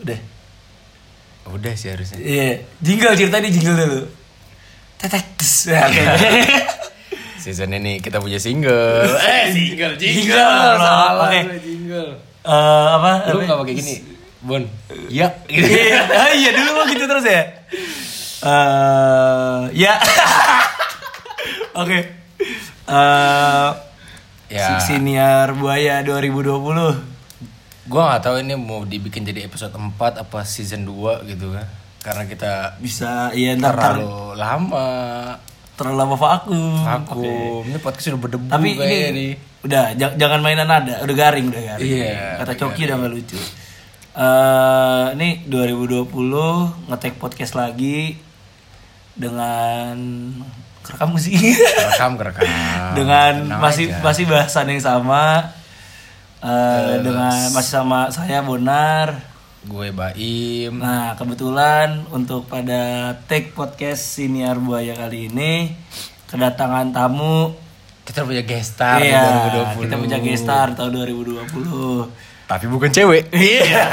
Udah. Udah sih harusnya. Iya. Jingle cerita nih jingle dulu. Tetek. tes. Nah, oke. Season ini kita punya single. eh, single, Jingle, salah. salah. Oke. Oke. Eh, apa? Lu Apa? nggak pakai gini, Bon? Iya. Gitu. Iya, Ah, iya dulu mau gitu terus ya. Eh, ya. Oke. Eh, Ya. Siniar Buaya 2020. Gua nggak tahu ini mau dibikin jadi episode 4 apa season 2 gitu kan. Karena kita Bisa iya ntar terlalu, terlalu lama terlalu lama vakum. vakum. Ini podcast sudah berdebu Hmm, Tapi kayaknya ini ya nih. udah ja- jangan mainan nada, udah garing udah garing. Iya, Kata udah Coki udah gak lucu. Eh, ini 2020 ngetek podcast lagi dengan kerekam gak sih? Kerekam, kerekam. dengan Ah, Tenang masih aja. masih bahasan yang sama Eh, dengan masih sama saya Bonar. gue Baim. Nah, kebetulan untuk pada take podcast Siniar Buaya kali ini kedatangan tamu Kita punya guest star di Iya, 2020. kita punya guest star tahun 2020. Tapi bukan cewek. Iya.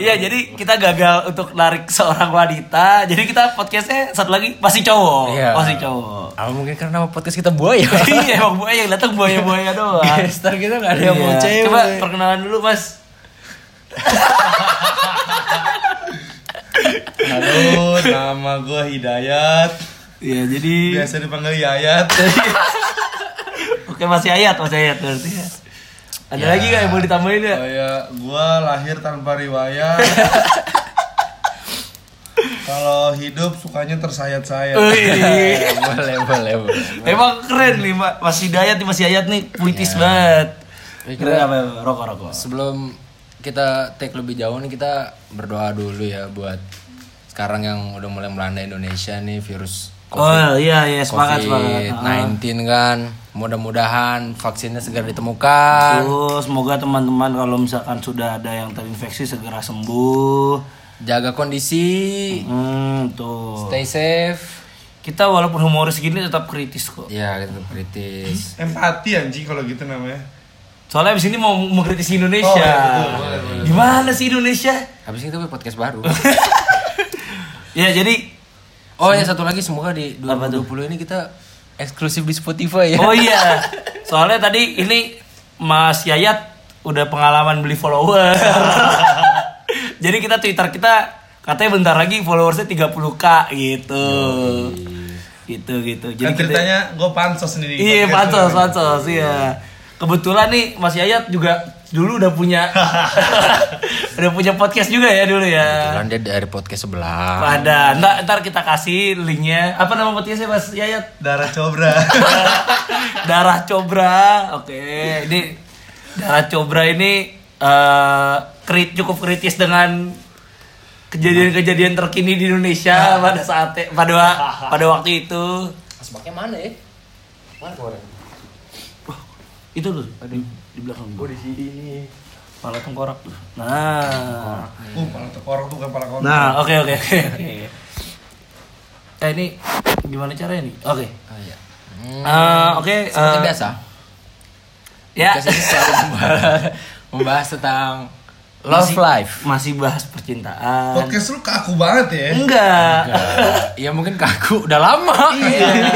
Iya, jadi kita gagal untuk narik seorang wanita. Jadi kita podcastnya satu lagi pasti cowok, Iya. pasti cowok. Apa mungkin karena nama podcast kita buaya? Iya, emang buaya yang datang buaya-buaya doang. guest star kita gak Iya, gitu ada yang mau Iya. cewek. Coba perkenalan dulu mas Halo, nama gue Hidayat. Iya jadi Biasa dipanggil Yayat. Oke Mas Yayat, Mas Yayat berarti ya Ada lagi gak yang mau ditambahin Iya. ya? Kayak gue lahir tanpa riwayat. Kalau hidup sukanya tersayat-sayat. Oh, iya. Wih. boleh, boleh, boleh. Emang keren nih Ma- Mas Hidayat nih, Mas Yayat nih puitis banget Ini Keren apa ya? Rokok, rokok Sebelum kita take lebih jauh nih kita berdoa dulu ya buat sekarang yang udah mulai melanda Indonesia nih virus Oh iya iya semangat semangat Ah. COVID-19 kan. Mudah-mudahan vaksinnya segera ditemukan. Terus semoga teman-teman kalau misalkan sudah ada yang terinfeksi segera sembuh Jaga kondisi, Hmm tuh stay safe. Kita walaupun humoris gini tetap kritis kok Ya, kita kritis. Empati anjing kalau gitu namanya. Soalnya abis ini mau mengkritisi Indonesia Oh, iya, betul, Gimana sih Indonesia? Habis ini kita buat podcast baru. Ya jadi Oh ya satu lagi semoga di Apa 2020 ini kita eksklusif di Spotify ya. Oh iya Soalnya tadi ini Mas Yayat udah pengalaman beli follower Jadi kita Twitter kita Katanya bentar lagi followersnya 30k gitu Gitu gitu Jadi Kan kita- ceritanya gue pansos nih. di Iya podcast pansos ini. pansos iya Kebetulan nih Mas Yayat juga dulu udah punya Udah punya podcast juga ya dulu ya Kebetulan dia dari podcast sebelah. Ada ntar, ntar kita kasih linknya Apa nama podcastnya Mas Yayat? Darah cobra. darah cobra oke ini darah cobra ini eh, krit cukup kritis dengan kejadian-kejadian terkini di Indonesia pada saat pada wa- pada waktu itu Asbaknya mana ya? Mana kemarin? itu tuh ada di belakang gua di sini. kepala tengkorak tuh. nah uh, pala tekorok tuh bukan pala kontol. nah oke oke oke oke. eh ini gimana caranya nih oke Oh iya. Eh, oke Seperti eh, biasa. ya Podcast ini selalu membahas, membahas tentang love life. masih bahas percintaan Podcast lu kaku banget ya. enggak ya mungkin kaku udah lama. Iya.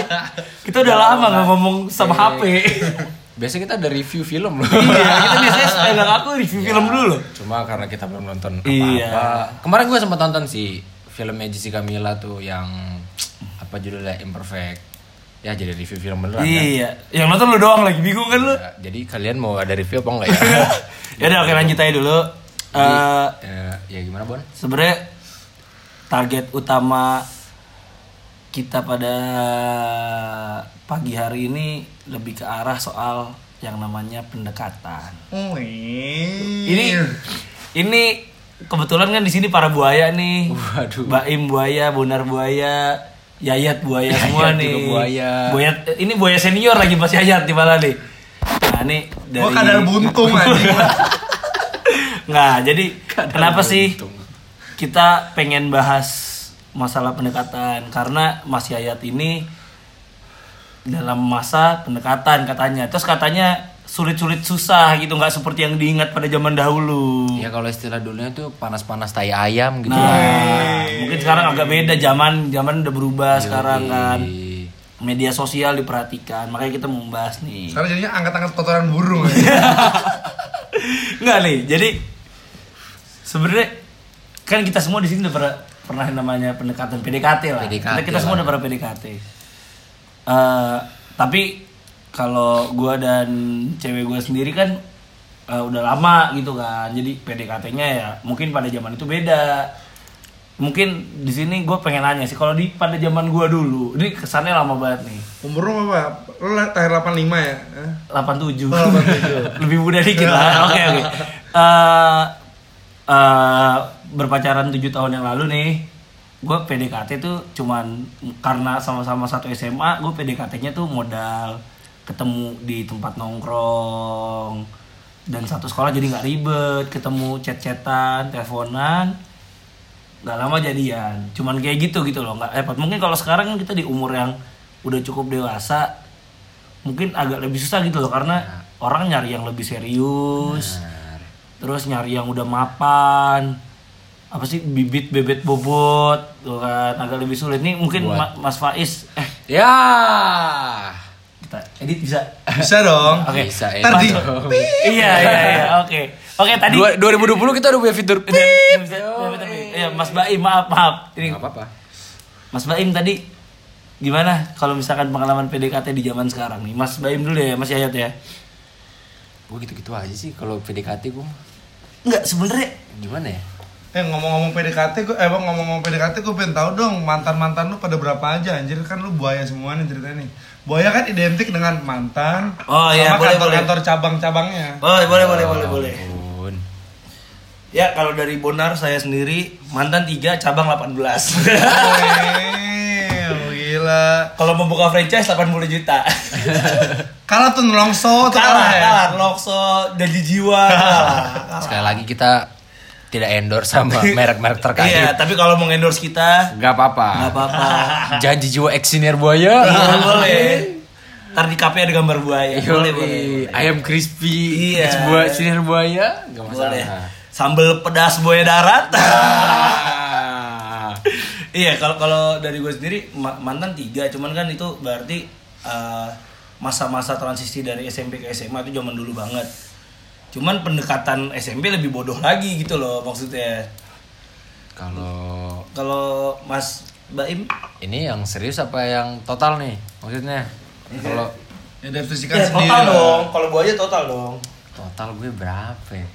Kita udah lama nggak ngomong sama HP. Biasanya kita ada review film loh. iya, kita biasanya supaya nggak ngaku review Iya. film dulu loh. Cuma karena kita belum nonton apa-apa. Iya. Kemarin gue sempat nonton sih filmnya Jessica Mila tuh yang apa judulnya Imperfect. Ya jadi review film beneran. kan? Iya, yang nonton lu doang lagi bingung kan lu. Ya, jadi kalian mau ada review apa enggak ya? Ya udah oke lanjut aja dulu. Eh Eh, ya gimana Bon? sebenarnya target utama kita pada pagi hari ini lebih ke arah soal yang namanya pendekatan. Wih. ini ini kebetulan kan di sini para buaya nih Waduh. baim buaya bonar buaya yayat buaya semua juga nih buaya. Buaya- ini buaya senior lagi pas yayat di malah nih nah ini dari Gue kadar buntung anjing. nggak jadi kenapa sih kita pengen bahas masalah pendekatan karena Mas Yayat ini dalam masa pendekatan katanya terus katanya sulit-sulit susah gitu nggak seperti yang diingat pada zaman dahulu. Ya kalau istilah dulunya tuh panas-panas tai ayam gitu. Nah, mungkin sekarang agak beda zaman zaman udah berubah sekarang kan. Di- Media sosial diperhatikan, makanya kita mau membahas nih. Sekarang jadinya angkat-angkat kotoran burung Iya. ya. Enggak nih, jadi sebenarnya kan kita semua di sini udah pernah pernah yang namanya pendekatan PDKT lah. PDKT kita kita lah. semua udah pernah PDKT. Eh, tapi kalau gua dan cewek gua sendiri kan eh, udah lama gitu kan. Jadi PDKT-nya ya mungkin pada zaman itu beda. Mungkin di sini gua pengen nanya sih kalau di pada zaman gua dulu, ini kesannya lama banget nih. Umur lu apa? Lu lah- tahir 85 ya? Hah? 87. Oh, 87. Lebih muda dikit lah. Oke, oke. Eh, eh, berpacaran 7 tahun yang lalu nih, gue PDKT tuh cuman karena sama-sama satu SMA, gue PDKT-nya tuh modal ketemu di tempat nongkrong dan satu sekolah jadi nggak ribet, ketemu chat-chatan, teleponan, nggak lama jadian. Cuman kayak gitu gitu loh, nggak repot. Mungkin kalau sekarang kan kita di umur yang udah cukup dewasa, mungkin agak lebih susah gitu loh karena orang nyari yang lebih serius Nah. terus nyari yang udah mapan apa sih bibit bebet bobot tuh kan agak lebih sulit nih mungkin Ma- Mas Faiz eh Ya. kita edit bisa Bisa dong. Oke. Bisa ya. Ntar di iya iya iya oke oke tadi Dua- 2020 kita udah punya fitur Iya, pip. bisa- bebet, bebet. Iya, Mas Baim maaf maaf ini Enggak apa-apa. Mas Baim tadi gimana kalau misalkan pengalaman PDKT di zaman sekarang nih Mas Baim dulu ya Mas Yayat ya Gue gitu-gitu aja sih kalau PDKT gue Enggak sebenernya gimana ya? Eh ngomong-ngomong PDKT, gue eh bang, ngomong-ngomong PDKT gue pengen tahu dong mantan-mantan lu pada berapa aja anjir kan lu buaya semua nih ceritanya nih. Buaya kan identik dengan mantan Oh, iya, sama boleh, kantor-kantor cabang-cabangnya. boleh boleh boleh boleh Ya boleh ampun. Ya kalau dari Bonar saya sendiri mantan 3 cabang 18. Wih, gila. kalau mau buka franchise 80 juta. Kalah tuh nelongso tuh kalah, ya? kalah, lokso, janji jiwa. kalah. Sekali lagi kita tidak endorse sama merek-merek Iya, terkait. tapi kalau mau endorse kita Gak apa-apa. nggak apa-apa. Janji jiwa eksinyir buaya. Iya, boleh. Ntar di kafe ada gambar buaya. Boleh, boleh. Yoi, Ayam crispy, Iya. es buah sinar buaya, gak masalah. Boleh. Sambal pedas buaya darat. Ah. iya, kalau kalau dari gue sendiri ma- mantan 3, cuman kan itu berarti eh, masa-masa transisi dari SMP ke SMA itu zaman dulu banget. Cuman pendekatan SMP lebih bodoh lagi gitu loh maksudnya. Kalau Kalau Mas Baim ini yang serius apa yang total nih? Maksudnya kalau Ya definisikan ya, sendiri. total dong. Kalau gue aja total dong. total gue berapa? ya?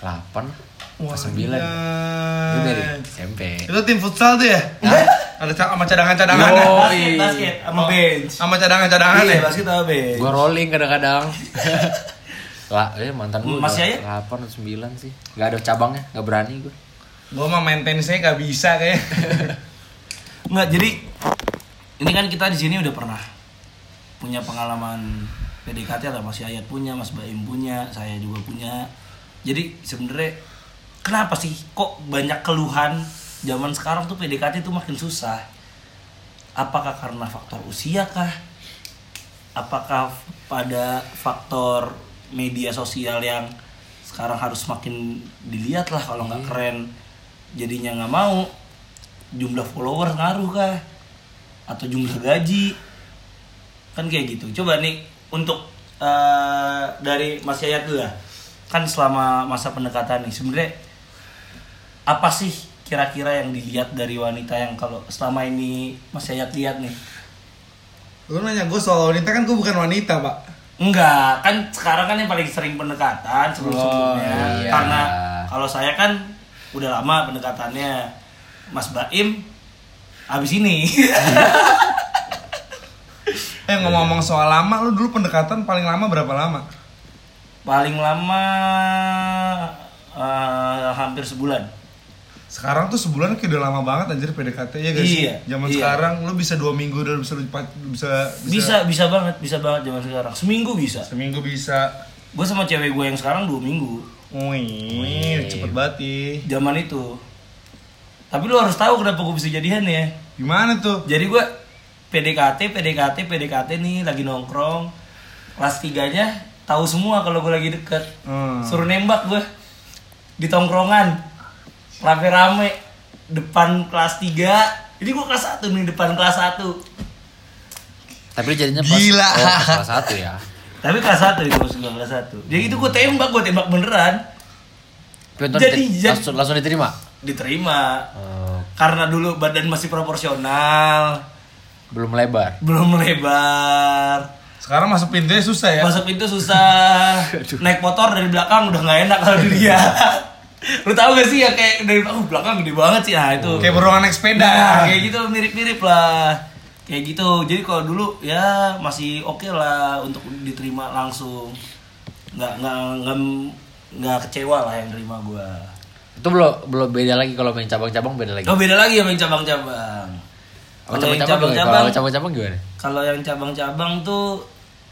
8 Wah, apa 9? Gue dari SMP. Itu tim futsal tuh ya? Ada ca- sama cadangan-cadangan ya? Yo. Basket, basket sama bench. Sama cadangan-cadangan Iya, ya? basket sama bench. Gue rolling kadang-kadang. Lah, eh mantan gue Mas Yaya? 8 atau 9 sih. Gak ada cabangnya, gak berani gue. Gua mah main tenisnya gak bisa kayak. Enggak, jadi ini kan kita di sini udah pernah punya pengalaman PDKT lah Mas Yayat punya, Mas Baim punya, saya juga punya. Jadi sebenarnya kenapa sih kok banyak keluhan zaman sekarang tuh PDKT tuh makin susah? Apakah karena faktor usia kah? Apakah pada faktor media sosial yang sekarang harus makin dilihat lah kalau nggak keren jadinya nggak mau jumlah follower ngaruh kah atau jumlah gaji kan kayak gitu coba nih untuk eh, dari Mas Yayat dulu lah kan selama masa pendekatan nih sebenarnya apa sih kira-kira yang dilihat dari wanita yang kalau selama ini Mas Yayat lihat nih Lu nanya gue soal wanita kan gue bukan wanita pak. Enggak, kan sekarang kan yang paling sering pendekatan Oh, sebelum-sebelumnya. iya. Karena kalau saya kan udah lama pendekatannya. Mas Baim abis ini. Eh ngomong-ngomong soal lama, lu dulu pendekatan paling lama berapa lama? paling lama eh, hampir sebulan. Sekarang tuh sebulan kayak udah lama banget anjir PDKT ya guys. Iya, Zaman iya. sekarang lu bisa dua minggu udah bisa lu pa- bisa Bisa bisa banget, bisa banget zaman sekarang. Seminggu bisa. seminggu bisa. Gue sama cewek gue yang sekarang dua minggu. Wih, cepet banget ih. Zaman itu. Tapi lu harus tahu kenapa gue bisa jadian ya. Gimana tuh? Jadi gue PDKT, PDKT, PDKT nih lagi nongkrong. kelas tiganya tahu semua kalau gue lagi deket Hmm. suruh nembak gue di tongkrongan rame-rame depan kelas 3 ini gue kelas 1 nih depan kelas 1 Tapi lu jadinya pas Gila. oh, pas kelas satu ya. tapi kelas 1 itu maksud gue kelas 1 jadi itu gue tembak gue tembak beneran Tapi nonton Jadi, dite- jadi- langsung, langsung diterima. diterima Oh, karena dulu badan masih proporsional belum lebar. belum melebar Sekarang masuk pintunya susah ya. masuk pintu susah naik motor dari belakang udah nggak enak kalau dilihat lu tahu gak sih ya kayak dari belakang "Uh, belakang gede banget sih nah itu Kayak beruang naik sepeda. Nah, kayak gitu mirip-mirip lah kayak gitu jadi kalau dulu ya masih oke lah untuk diterima langsung nggak nggak nggak nggak kecewa lah yang terima gua Itu belum belum beda lagi kalau main cabang-cabang beda lagi. oh beda lagi sama yang cabang-cabang Kalau Kalau yang cabang-cabang cabang-cabang gimana? Kalau cabang-cabang gimana? kalau yang cabang-cabang tuh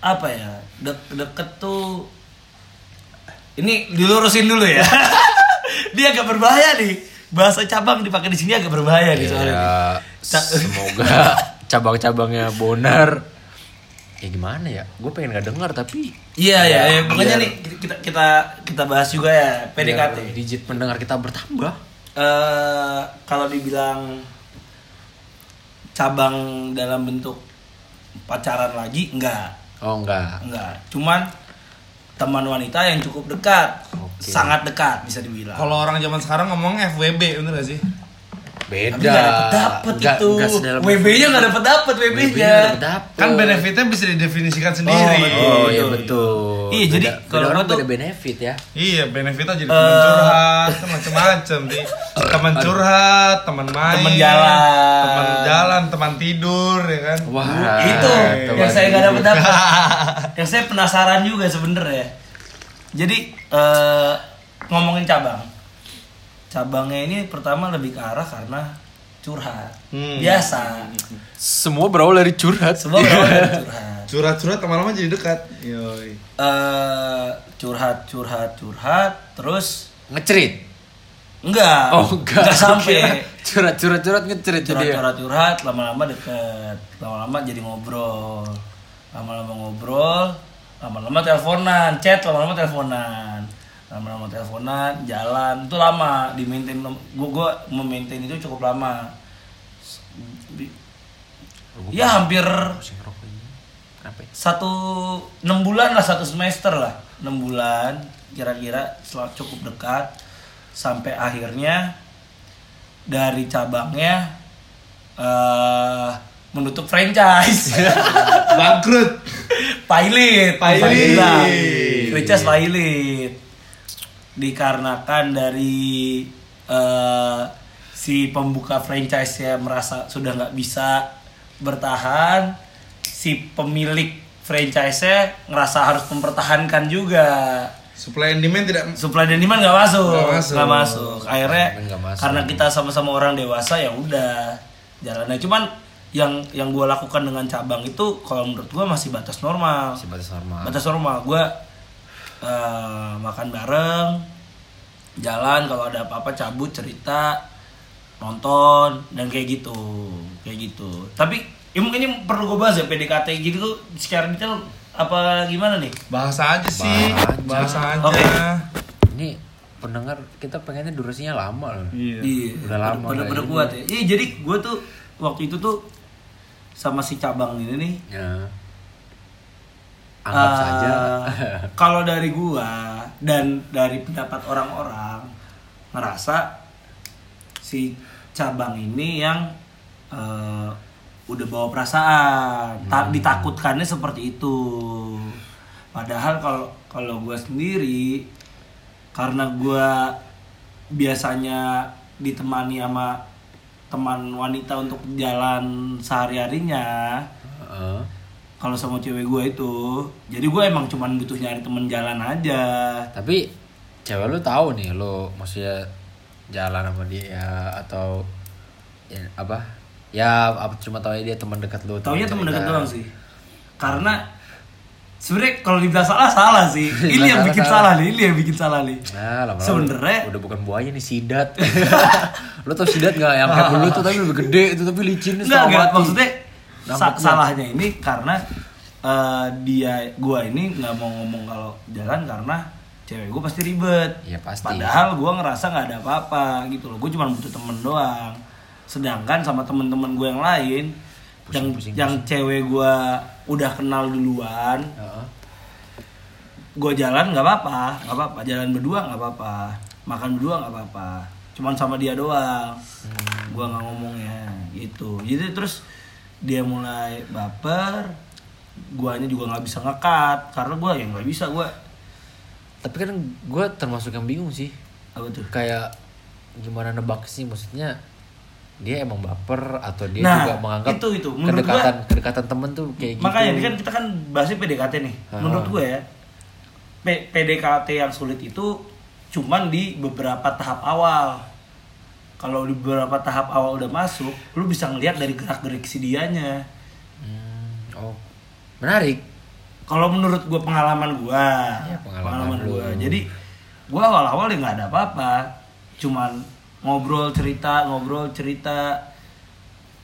apa ya dek- deket tuh ini dilurusin dulu ya dia agak berbahaya nih bahasa cabang dipakai di sini agak berbahaya nih soalnya Ya, Ca- semoga cabang-cabangnya bonar. Ya gimana ya? Gue pengen nggak dengar tapi iya iya iya. pokoknya Biar- nih kita kita kita bahas juga ya PDKT biar Digit pendengar kita bertambah. eh kalau dibilang cabang dalam bentuk pacaran lagi enggak Oh enggak. enggak cuman teman wanita yang cukup dekat Oke. sangat dekat bisa dibilang Kalau orang zaman sekarang ngomong FWB, bener gak sih? Beda. Tapi gak dapet dapet Nggak- itu. nggak sedalam- WB-nya gak dapet dapet WB-nya. dapet. Oh. Kan benefitnya bisa didefinisikan sendiri. Oh iya betul. Iya, jadi Beda- kalau beda orang gua tuh- beda benefit ya. Iya, benefitnya jadi teman curhat, kan macam-macam sih. Teman curhat, teman main, Teman jalan. teman jalan, teman tidur, ya kan. Wah, itu teman yang saya gak dapet tidur. dapet. yang saya penasaran juga sebenernya. Jadi eh, ngomongin cabang. Cabangnya ini pertama lebih ke arah karena curhat. Hmm. Biasa. Semua berawal dari curhat. Semua berawal dari curhat. Curhat-curhat lama-lama jadi dekat. Yoi. Eh, curhat, curhat, curhat. Terus Ngecerit. enggak. Oh enggak. Enggak sampai. curhat curhat curhat ngecerit jadi. ya. curhat curhat curhat lama-lama deket lama-lama jadi ngobrol lama-lama ngobrol lama-lama teleponan chat lama-lama teleponan lama-lama teleponan jalan itu lama di maintain gua gua memaintain itu cukup lama S- di- ya hampir Kenapa ya? satu enam bulan lah satu semester lah enam bulan kira-kira setelah cukup dekat sampai akhirnya dari cabangnya eh menutup franchise Bangkrut. pilot Pilot. Lah. franchise pilot dikarenakan dari eh, si pembuka franchise nya merasa sudah nggak bisa bertahan si pemilik franchise nya ngerasa harus mempertahankan juga Supply and demand tidak supply dan demand nggak masuk Nggak masuk. nggak masuk. akhirnya Supply and demand nggak masuk. karena kita sama-sama orang dewasa ya udah jalannya cuman yang yang gue lakukan dengan cabang itu kalau menurut gue masih batas normal Masih batas normal. batas normal gue makan bareng jalan kalau ada apa-apa cabut cerita nonton dan kayak gitu kayak gitu tapi ya mungkin ini perlu gue bahas ya PDKT gitu tuh secara detail apa gimana nih bahasa aja sih, Bahasa. bahasa aja. Oke. Ini pendengar kita pengennya durasinya lama loh. Iya. Iya. Udah lama gitu. Bener, nggak bener ini. kuat ya. Iya jadi gue tuh waktu itu tuh sama si cabang ini nih. Ya. Anggap eh, saja. kalau dari gua dan dari pendapat orang-orang ngerasa si cabang ini yang eh, udah bawa perasaan, Ta- Hmm. ditakutkannya seperti itu. Padahal kalau kalau gua sendiri karena gua biasanya ditemani sama teman wanita untuk jalan sehari-harinya Heeh. kalau sama cewek gue itu jadi gue emang cuman butuh nyari temen jalan aja Tapi cewek lu tahu nih lu maksudnya jalan sama dia atau ya, apa? Ya apa cuma tahu dia teman dekat lu. taunya temen cerita. deket doang sih karena sebenarnya kalau dibilang salah salah sih ini yang Salah, bikin salah. salah nih ini yang bikin salah nih Nah, lama-lama Sebenernya- udah bukan buaya nih sidat. lu tau sidat nggak yang kayak dulu tuh tapi lebih gede itu tapi licin enggak setengah enggak mati. maksudnya sa- Rambutnya. salahnya ini karena eh, dia gua ini nggak mau ngomong kalau jalan karena cewek gua pasti ribet. Iya, pasti. Padahal gua ngerasa nggak ada apa-apa gitu loh. Gua cuma butuh temen doang. Sedangkan sama temen-temen gua yang lain yang pusing, yang cewek gua udah kenal duluan, Heeh. gue jalan nggak apa-apa nggak apa-apa jalan berdua nggak apa-apa makan berdua nggak apa-apa cuman sama dia doang Hmm. gue nggak ngomongnya gitu jadi terus dia mulai baper guanya juga nggak bisa ngekat karena gue yang nggak bisa gue Tapi kan gue termasuk yang bingung sih. apa tuh Kayak gimana nebak sih maksudnya dia emang baper atau dia Nah, juga menganggap itu- itu. Menurut kedekatan kedekatan temen tuh kayak gitu. makanya ini kan kita kan bahasnya PDKT nih Ah. menurut gue ya P- PDKT yang sulit itu cuman di beberapa tahap awal kalau di beberapa tahap awal udah masuk lu bisa ngelihat dari gerak gerik si dianya Hmm, oh. Menarik. kalau menurut gue pengalaman gue Ya, pengalaman lu. gue jadi gue awal-awal ya nggak ada apa-apa cuman ngobrol cerita ngobrol cerita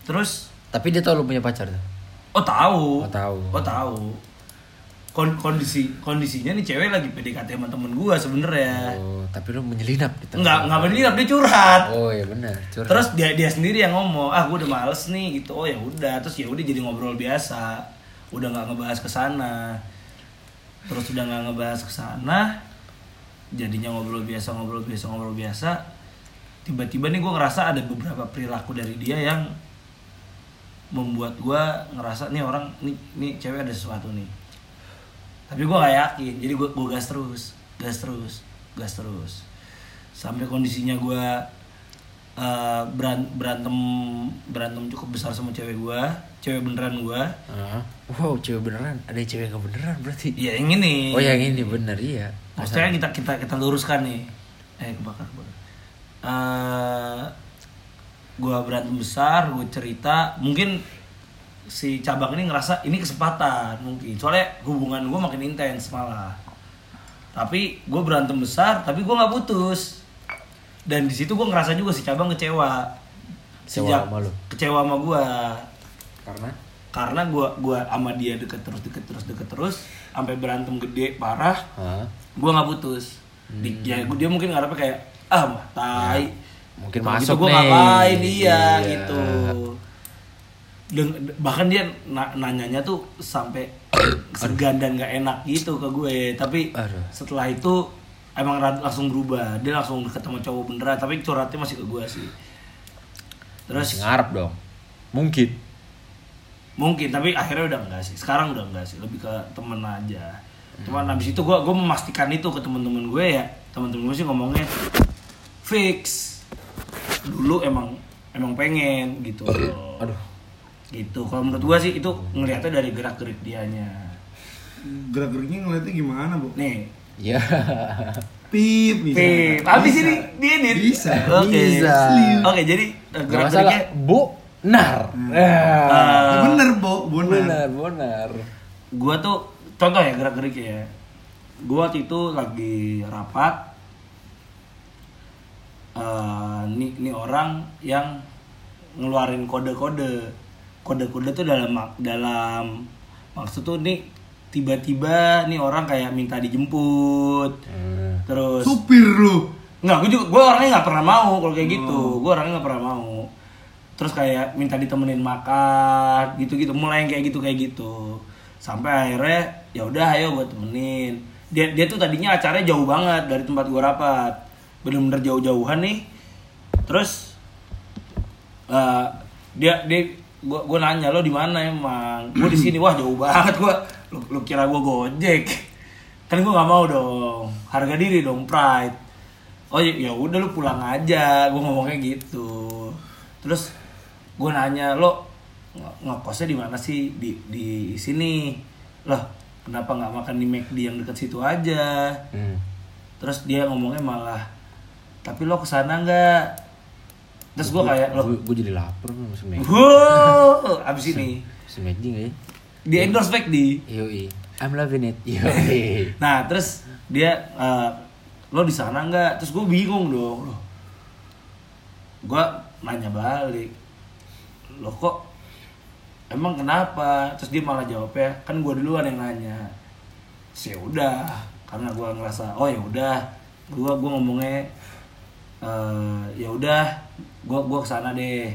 terus Tapi dia tau lu punya pacar tuh. oh tahu Oh, tahu. oh tahu Kon- kondisi kondisinya nih cewek lagi PDKT sama temen gue sebenernya Oh, tapi lu menyelinap di tengah. nggak nggak berdiam dia curhat Oh iya benar. Curhat. terus dia dia sendiri yang ngomong ah gue udah males nih gitu oh ya udah terus ya udah jadi ngobrol biasa udah nggak ngebahas ke sana terus udah nggak ngebahas ke sana jadinya ngobrol biasa ngobrol biasa ngobrol biasa tiba-tiba nih gue ngerasa ada beberapa perilaku dari dia yang membuat gue ngerasa nih orang nih nih cewek ada sesuatu nih tapi gue gak yakin jadi gue gue gas terus gas terus gas terus sampai kondisinya gue eh, beran- berantem berantem cukup besar sama cewek gue cewek beneran gue Ah. Wow, cewek beneran. Ada yang cewek yang beneran berarti. ya yang ini Oh yang ini bener iya. maksudnya kita kita kita luruskan nih eh kebakar kebakar Eh, gua berantem besar gue cerita mungkin si cabang ini ngerasa ini kesempatan mungkin soalnya hubungan gue makin intens malah tapi gue berantem besar tapi gue nggak putus dan di situ gue ngerasa juga si cabang kecewa Kecewa sama lu? kecewa sama gue Karena karena gua gua sama dia deket terus deket terus deket terus sampai berantem gede parah Hah? gua nggak putus Di- Hmm. ya, gua- dia mungkin ngarepnya kayak ah mah tai Ya, mungkin Kalau masuk gitu gua nih. ngapain dia Iya. gitu Deng- bahkan dia na- nanyanya tuh sampai segan dan nggak enak gitu ke gue tapi Aduh. setelah itu emang rad- langsung berubah dia langsung deket sama cowok beneran tapi curhatnya masih ke gue sih terus Masih ngarep dong. Mungkin. mungkin tapi akhirnya udah enggak sih sekarang udah enggak sih lebih ke temen aja Hmm. cuman habis itu gue gue memastikan itu ke temen-temen gue ya temen-temen gue sih ngomongnya fix dulu emang emang pengen gitu Oh iya. Aduh. gitu kalau menurut gue sih itu ngelihatnya dari gerak gerik dianya Gerak-geriknya ngeliatnya gimana, Bu? nih Ya. Pip, bisa. Pip, habis ini dia edit. Bisa, Oke. bisa. Oke, jadi eh, Gak gerak masalah. Hmm. Ah, geriknya Bu nar. eh, Ya, bener, Bu. Bener. Benar, benar. gua tuh contoh ya gerak gerik ya gua waktu itu lagi rapat Eh, nih nih orang yang ngeluarin kode-kode kode-kode tuh dalam mak- dalam maksud tuh nih tiba-tiba nih orang kayak minta dijemput terus Supir lu. Oh. Nggak, gue juga, gue orangnya nggak pernah mau kalau kayak gitu. Gue orangnya nggak pernah mau. Terus kayak minta ditemenin makan, gitu-gitu. Mulai yang kayak gitu kayak gitu. Sampai akhirnya ya udah ayo gue temenin. Dia dia tuh tadinya acaranya jauh banget dari tempat gue rapat. Bener-bener jauh-jauhan nih. Terus eh, dia dia gue gue nanya lo di mana emang? Gue di sini wah jauh banget gue. Lu, lu kira gue gojek? Kan gue nggak mau dong. Harga diri dong pride oh ya ya udah lu pulang aja gue ngomongnya gitu terus gue nanya lo nge- ngekosnya di mana sih di di sini loh kenapa nggak makan di McD yang deket situ aja Hmm. terus dia ngomongnya malah tapi lo kesana nggak terus gue kayak lo Gue jadi lapar nih sama Maggie. wow abis ini Sama Maggie nggak ya? di endorse McD Yoi. I'm loving it. Yoi. Nah terus dia eh, lo di sana nggak? Terus gue bingung dong. Loh, gue nanya balik. Lo kok emang kenapa terus dia malah jawabnya kan gue duluan yang nanya sih udah karena gue ngerasa oh ya udah gue gue ngomongnya eh ya udah gue gue kesana deh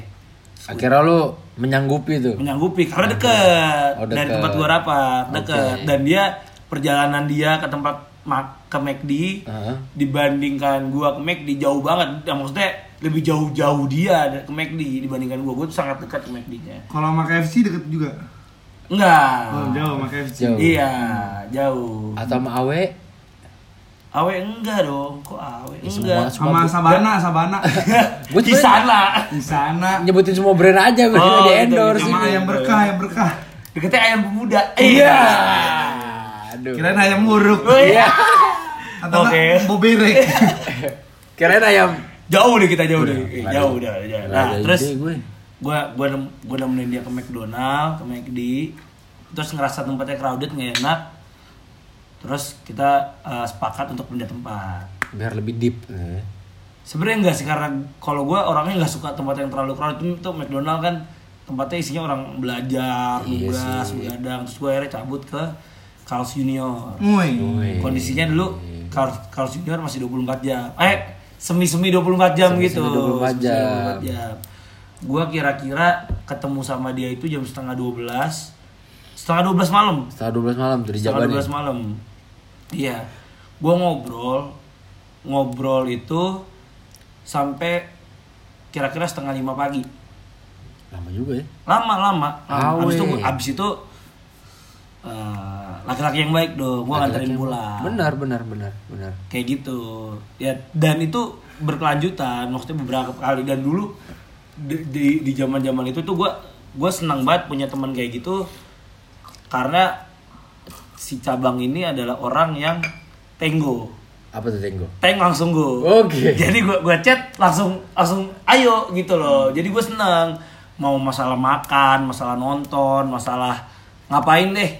Akhirnya lu menyanggupi tuh. menyanggupi karena deket, Oh, deket. dari tempat gue rapat deket Oke. dan dia perjalanan dia ke tempat mak ke McD Heeh. dibandingkan gua ke McD jauh banget ya, maksudnya lebih jauh-jauh dia ke McD dibandingkan gua gua tuh sangat dekat ke McD-nya Kalau sama KFC deket juga. enggak Oh, jauh sama KFC. Jauh. iya jauh Atau sama Awe? awe enggak dong kok awe Ya, enggak semua- Sama Sabana, Sabana. Gua di cuman sana Di sana. nyebutin semua brand aja berarti Oh, di itu- endorse. Sama ayam berkah, ayam berkah. deketnya ayam pemuda Iya. Aduh. Kirain ayam nguruk. Oh, iya Atau Oke. enggak, embo berek. Kirain ayam. jauh deh kita jauh deh Eh, jauh udah jauh nah Ada terus ide gue. gue gue gue nemenin dia ke McDonald ke McD terus ngerasa tempatnya crowded nggak enak terus kita eh, sepakat untuk pindah tempat biar lebih deep. sebenarnya enggak sih karena kalau gue orangnya nggak suka tempat yang terlalu crowded itu McDonald kan tempatnya isinya orang belajar Iya nugas sih. begadang terus gue akhirnya cabut ke Carl's Junior Woi. kondisinya dulu Carl- Carl's Junior masih 24 jam eh semi-semi 24 jam gitu 24 jam. Semi-semi 24 jam gua kira-kira ketemu sama dia itu jam setengah 12 setengah 12 malam Setelah 12 malam dari setengah Jabarnya. 12 malam iya gua ngobrol ngobrol itu sampai kira-kira setengah 5 pagi Lama juga ya. lama-lama Awe. abis itu gua- abis itu eh, laki-laki yang baik dong gua nganterin pulang Benar, benar, benar, benar. kayak gitu ya dan itu berkelanjutan maksudnya beberapa kali dan dulu di- di di zaman zaman itu tuh gue gue senang banget punya teman kayak gitu karena si cabang ini adalah orang yang tenggo Apa tuh Tenggo? tank langsung gue Oke. jadi gue gue chat langsung langsung ayo gitu loh jadi gue seneng mau masalah makan masalah nonton masalah ngapain deh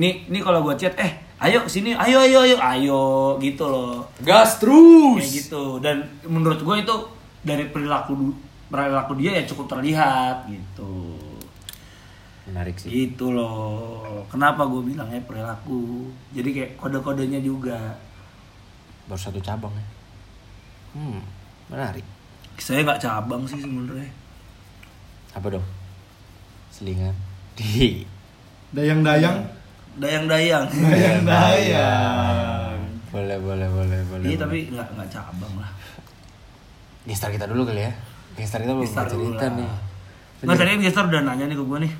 nih nih kalau gue chat eh ayo sini ayo ayo ayo ayo gitu loh kayak Gas terus. gitu dan menurut gue itu dari perilaku perilaku dia ya cukup terlihat gitu Menarik sih. gitu loh kenapa gue bilangnya perilaku jadi kayak kode-kodenya juga Baru satu cabang ya. Hmm, menarik. saya nggak cabang sih sebenarnya Apa dong? Selingan. Di. Dayang-dayang. dayang-dayang Dayang-dayang. Boleh, boleh, boleh, boleh. iya tapi nggak nggak cabang lah Gestar kita dulu kali ya. Gestar kita belum Gestar dulu cerita lah. nih. nggak tadi investor udah nanya nih ke gue nih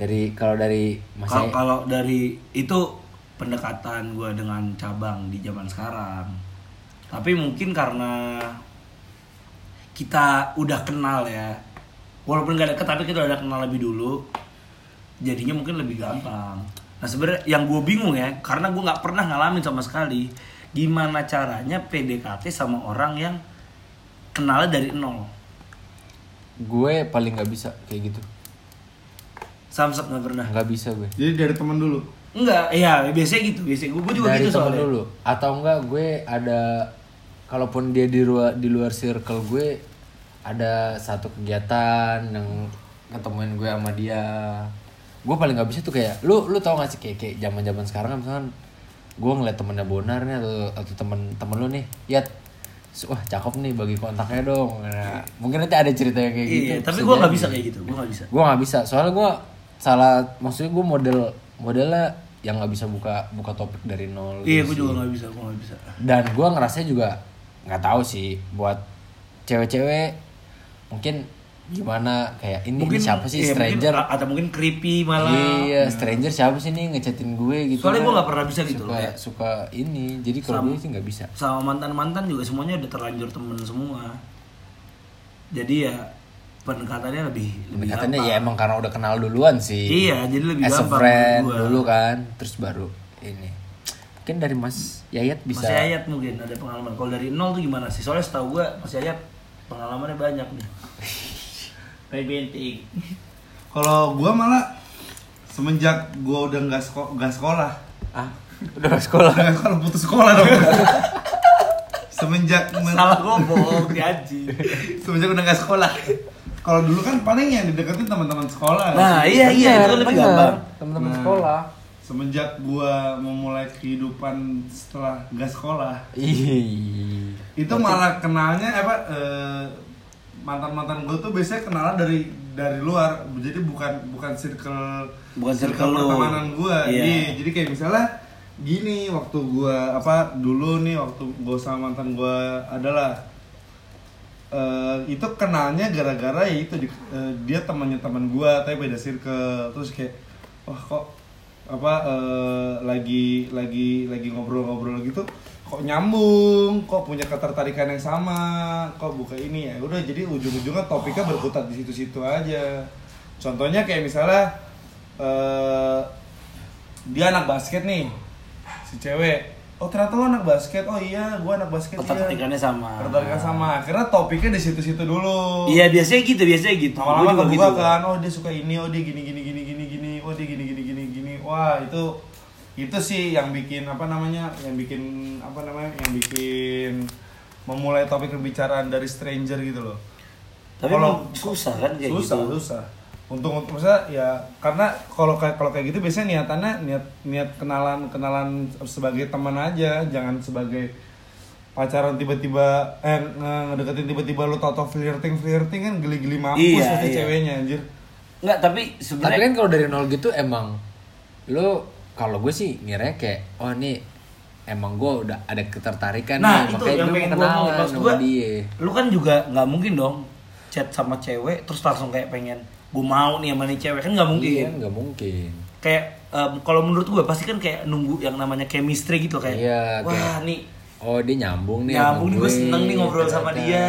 Dari kalau dari Mas kalau Ae- kalau dari itu pendekatan gue dengan cabang di zaman sekarang tapi mungkin karena kita udah kenal ya walaupun gak deket tapi kita udah kenal lebih dulu jadinya mungkin lebih gampang nah sebenarnya yang gue bingung ya karena gue nggak pernah ngalamin sama sekali gimana caranya PDKT sama orang yang kenalnya dari nol gue paling nggak bisa kayak gitu. samsak nggak pernah Nggak bisa gue. Jadi dari teman dulu. Enggak, ya biasanya gitu, biasanya gue juga dari gitu temen soalnya. dulu atau enggak gue ada kalaupun dia di ruang di luar circle gue ada satu kegiatan yang ketemuin gue sama dia gue paling nggak bisa tuh kayak lu lu tau gak sih kayak kayak zaman zaman sekarang kan misalkan gue ngeliat temennya Bonar nih atau atau temen temen lu nih ya wah cakep nih bagi kontaknya dong Nah, mungkin nanti ada cerita yang kayak gitu Iya, tapi Bisa gue nggak jadi bisa kayak gitu, gue nggak bisa. gue nggak bisa soalnya gue salah maksudnya gue model modelnya yang nggak bisa buka buka topik dari nol Iya, gitu gue sih. juga nggak bisa, gue nggak bisa. dan gue ngerasa juga nggak tahu sih buat cewek-cewek mungkin gimana kayak ini, ini siapa sih iya, mungkin- stranger a- atau mungkin creepy malah. iya stranger siapa sih nih ngechatin gue gitu Soalnya kan. gue nggak pernah bisa gitu suka loh. kayak suka ini jadi kalau gue sih nggak bisa Sama mantan mantan juga semuanya udah terlanjur temen semua. Jadi ya pendekatannya lebih lebih pendekatannya gampang. ya emang karena udah kenal duluan sih Iya, jadi lebih as a gampang friend menurut gua. dulu kan terus baru ini mungkin dari Mas Yayat bisa Masih ayat mungkin ada pengalaman. Kalau dari nol tuh gimana sih? Soalnya setahu gue masih ayat pengalamannya banyak nih. Ray Benting. Kalau gua malah semenjak gua udah nggak seko- nggak sekolah, ah udah nggak sekolah Kalau putus sekolah dong. semenjak Salah gua bohong di anjing. semenjak udah nggak sekolah kalau dulu kan paling yang dideketin teman-teman sekolah Nah, sih. iya iya itu kan lebih gampang. Teman-teman Nah, sekolah. semenjak gua memulai kehidupan setelah gak sekolah Iya. Ih. itu malah kenalnya eh, apa eh, mantan-mantan gua tuh biasanya kenalan dari dari luar jadi bukan bukan circle Bukan circle lu. pertemanan gua Iya. Iya, jadi kayak misalnya gini waktu gua apa dulu nih waktu gua sama mantan gua adalah eh, itu kenalnya gara-gara ya itu di- eh, dia temannya teman gua tapi beda circle terus kayak wah kok apa eh, lagi lagi lagi ngobrol-ngobrol gitu kok nyambung kok punya ketertarikan yang sama kok buka ini ya udah jadi ujung-ujungnya topiknya berkutat di situ-situ aja contohnya kayak misalnya eh, dia anak basket nih si cewek oh ternyata lo anak basket oh iya gua anak basket iya. Ketertarikannya sama. Ketertarikan sama. Akhirnya topiknya di situ-situ dulu. Iya biasanya gitu, biasanya gitu. Gua Lama-lama juga kebuka gitu. kan, oh dia suka ini, oh dia gini gini gini gini gini, oh dia gini gini gini gini. Wah, itu itu sih yang bikin apa namanya? Yang bikin apa namanya? Yang bikin memulai topik pembicaraan dari stranger gitu loh. Tapi Kalau- emang susah kan kayak susah, gitu. susah. Untuk untuk maksudnya ya karena kalau kayak kalau kayak gitu biasanya niatannya niat niat kenalan kenalan sebagai teman aja, jangan sebagai pacaran tiba-tiba eh nge- ngedeketin tiba-tiba lu tau-tau flirting flirting kan geli-geli mampus Iya, pasti iya. ceweknya anjir. Enggak, tapi Tapi sebenarnya kan kalau dari nol gitu emang lo kalau gue sih ngiranya kayak oh nih emang gue udah ada ketertarikan Nah, itu nih, kan makanya yang gue pengen mau gua kenalan mau maksud sama gua. dia. Lu kan juga nggak mungkin dong chat sama cewek terus langsung kayak pengen gue mau nih sama nih cewek kan nggak mungkin. Iya, nggak mungkin. kayak em, kalau menurut gue pasti kan kayak nunggu yang namanya chemistry gitu kayak Iya, wah kayak nih Oh dia nyambung nih nyambung nih sama gue seneng nih ngobrol sama ternyata. dia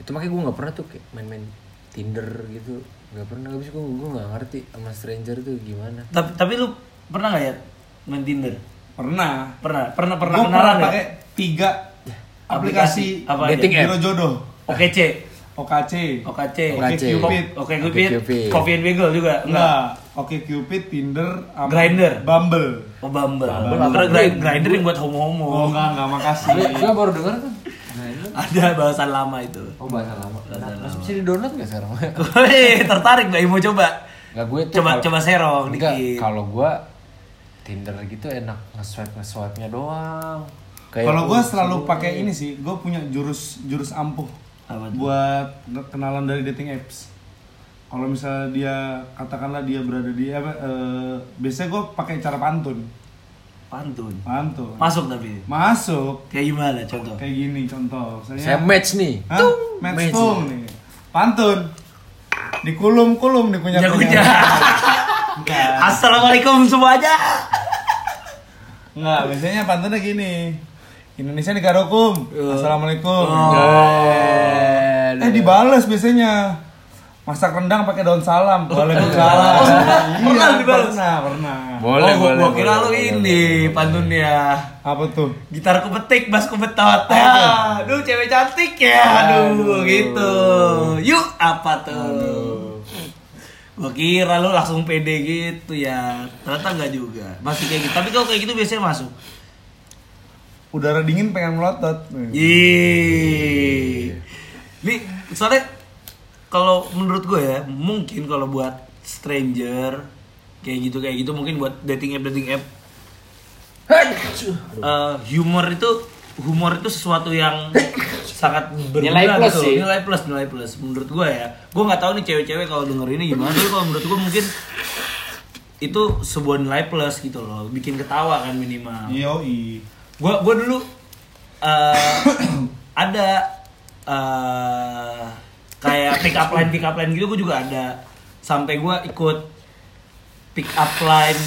Itu makanya gue nggak pernah tuh kayak main-main Tinder gitu nggak pernah habis gue gue nggak ngerti sama stranger tuh gimana tapi tapi lu pernah nggak ya main Tinder Pernah. pernah pernah pernah Gua kenalan nggak? pakai tiga aplikasi, Aplikasi. Apa aja? Dating app. Biro jodoh. oke c OKC. oke c Oke OKC. Cupid. oke Oke Cupid Cupid. Coffee and Bagel juga enggak Enggak. Oke Cupid, Tinder, sama Grinder. Bumble. Oh, Bumble. Bumble Gua kira apa? Grind- Grindr yang buat homo-homo. Oh, enggak, enggak makasih. Gue baru denger tuh Nah itu Ada bahasan lama itu. Oh bahasa lama Masih bisa di download nggak sekarang? Wih, tertarik nggak? Mau coba? Nggak gue tuh Coba kalau- coba serong Enggak, dikit. kalau gua Tinder gitu enak nge-swipe nge-swipe-nya doang. Kalau gue oh, selalu pakai ini sih, gue punya jurus jurus ampuh Apa tuh? buat kenalan dari dating apps. Kalau misalnya dia katakanlah dia berada di apa, eh, biasanya gue pakai cara pantun, Pantun. pantun. Masuk tapi. Masuk Kayak gimana contoh? kayak gini contoh, saya misalnya match nih. Hah? match tung nih, pantun, dikulum-kulum, Jagunya. dikunyah-kunyah. Enggak. Assalamualaikum semuanya. Enggak, biasanya pantunnya gini. Indonesia negara hukum. Assalamualaikum. Oh. Eh dibales biasanya. Masak rendang pakai daun salam. Waalaikumsalam. Oh, pernah? Iya, Pernah dibales? Pernah, pernah. Boleh, oh, gua- boleh, gua kira boleh, lu boleh, ini boleh, pantunnya. Apa tuh? Gitarku petik, basku betot. Aduh, cewek cantik ya. Aduh, gitu. Yuk, apa tuh? Gua kira lu langsung pede gitu ya. Ternyata enggak juga. Masih kayak gitu. Tapi kalau kayak gitu biasanya masuk. Udara dingin pengen melotot. Hmm. Iya. Yeay. Nih, soalnya kalau menurut gue ya, mungkin kalau buat stranger kayak gitu kayak gitu mungkin buat dating app dating app eh, humor itu humor itu sesuatu yang sangat berguna Nilai plus gitu. sih. Nilai plus, nilai plus. Menurut gue ya, gue nggak tahu nih cewek-cewek kalau denger ini gimana. Tapi kalau menurut gue mungkin itu sebuah nilai plus gitu loh, bikin ketawa kan minimal Yoi. gua gua dulu eh, ada eh, kayak pick up line pick up line gitu gua juga ada sampai gua ikut pick up line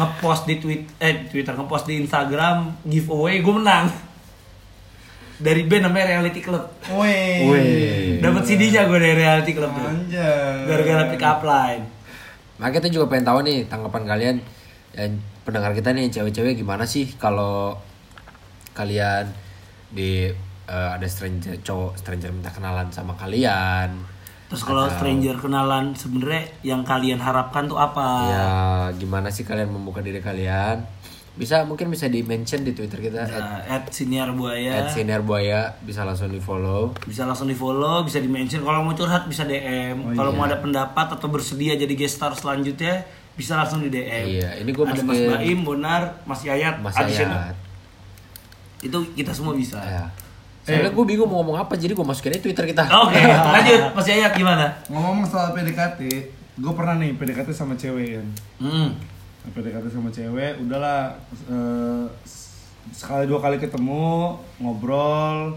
ngepost di tweet eh twitter ngepost di instagram giveaway gua menang dari band namanya reality club Weh. Eh, Weh. dapat CD-nya gua dari reality club tuh. Anjay. gara-gara pick up line Makanya kita juga pengen tahu nih tanggapan kalian dan pendengar kita nih cewek-cewek gimana sih kalau kalian di eh, ada stranger cowok stranger minta kenalan sama kalian. terus kalau stranger kenalan Iya. sebenarnya yang kalian harapkan tuh apa Ya, gimana sih kalian membuka diri kalian bisa mungkin bisa di mention di twitter kita at, Nah, at senior ya. buaya at Sinar Buaya bisa langsung di follow bisa langsung di follow bisa di mention kalau mau curhat bisa dm kalau mau ada pendapat atau bersedia jadi guest star selanjutnya bisa langsung di dm Iya, ini ada gua mas masukin- baim bonar mas yayat Mas Adisena. Ayat itu kita semua bisa ya. soalnya gue bingung mau ngomong apa jadi gue masukin aja twitter kita Eh. oke lanjut mas yayat gimana Ngomong soal PDKT, gue pernah nih PDKT sama cewek kan. Hmm. Nah, PDKT sama cewek, udahlah eh, sekali dua kali ketemu, ngobrol,